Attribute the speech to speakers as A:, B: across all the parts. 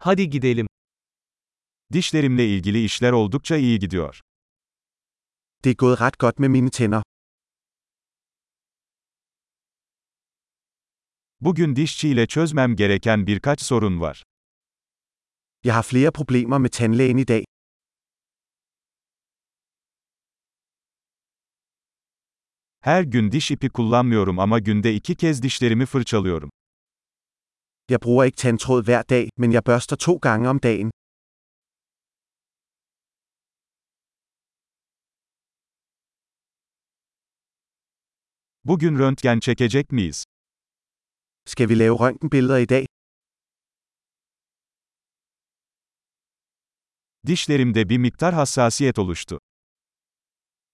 A: Hadi gidelim.
B: Dişlerimle ilgili işler oldukça iyi gidiyor.
C: Det er gået ret godt med mine tænder.
B: Bugün dişçiyle çözmem gereken birkaç sorun var.
C: Jeg har flere problemer med tandlægen i dag.
B: Her gün diş ipi kullanmıyorum ama günde iki kez dişlerimi fırçalıyorum.
C: Jeg bruger ikke tandtråd hver dag, men jeg børster to gange om dagen.
B: Bugün röntgen çekecek miyiz?
C: Skal vi lave røntgenbilleder i dag?
B: Dişlerimde bir miktar hassasiyet oluştu.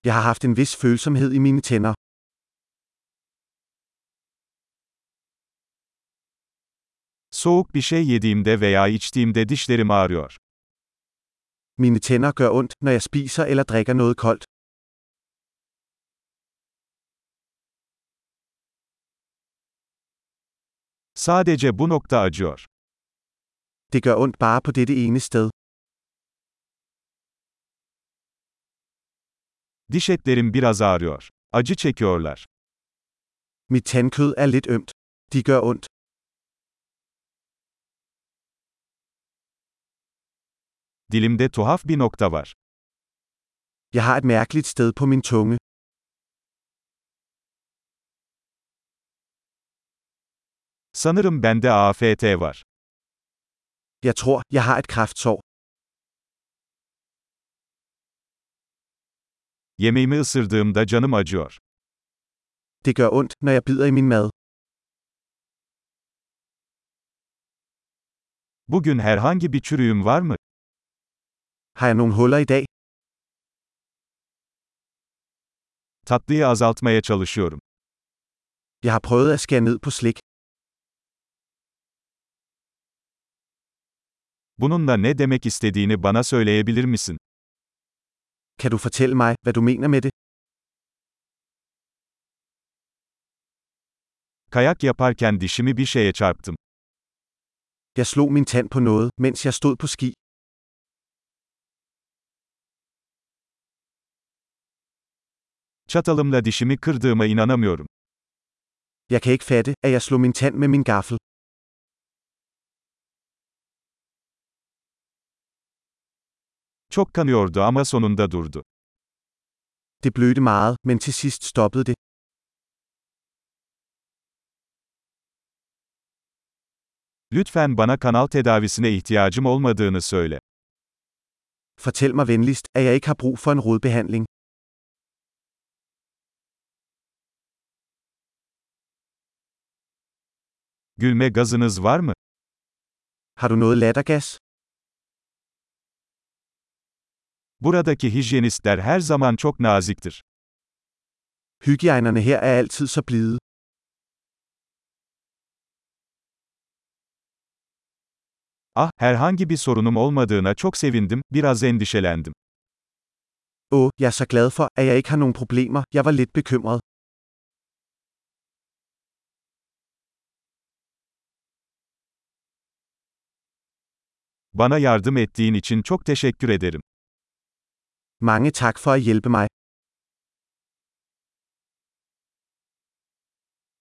C: Jeg har haft en vis følsomhed i mine tænder.
B: Soğuk bir şey yediğimde veya içtiğimde dişlerim ağrıyor.
C: Mine tænder gør ondt, når jeg spiser eller drikker noget koldt.
B: Sadece bu nokta acıyor.
C: Det gør ondt bare på dette ene sted.
B: Diş etlerim biraz ağrıyor. Acı çekiyorlar.
C: Mit tandkød er lidt ømt. De gør ondt.
B: Dilimde tuhaf bir nokta var.
C: Jeg har et mærkeligt sted på min tunge.
B: Sanırım bende AFT var.
C: Jeg tror, jeg har et kræftsår.
B: Yemeğimi ısırdığımda canım acıyor.
C: Det gør ondt, når jeg bider i min mad.
B: Bugün herhangi bir çürüğüm var mı?
C: Har jeg nogle huller i dag?
B: Tatlıyı azaltmaya çalışıyorum.
C: Jeg har prøvet at skære ned på slik.
B: Bununla ne demek istediğini bana söyleyebilir misin?
C: Kan du fortælle mig, hvad du mener med det?
B: Kayak yaparken dişimi bir şeye çarptım.
C: Jeg slog min tand på noget, mens jeg stod på ski.
B: Çatalımla dişimi kırdığıma inanamıyorum.
C: Jeg kan ikke fatte, at jeg slog min tand med min gaffel.
B: Çok kanıyordu ama sonunda durdu.
C: Det blødte meget, men til sidst stoppede det.
B: Lütfen bana kanal tedavisine ihtiyacım olmadığını söyle.
C: Fortæl mig venligst, at jeg ikke har brug for en rodbehandling.
B: Gülme gazınız var mı?
C: Har du noget lattergas?
B: Buradaki hijyenistler her zaman çok naziktir.
C: Hygiejnerne her er altid så blide.
B: Ah, herhangi bir sorunum olmadığına çok sevindim, biraz endişelendim.
C: Åh, jeg er så glad for, at jeg ikke har nogen problemer. Jeg var lidt bekymret.
B: Bana yardım ettiğin için çok teşekkür ederim.
C: Mange tak for at hjælpe mig.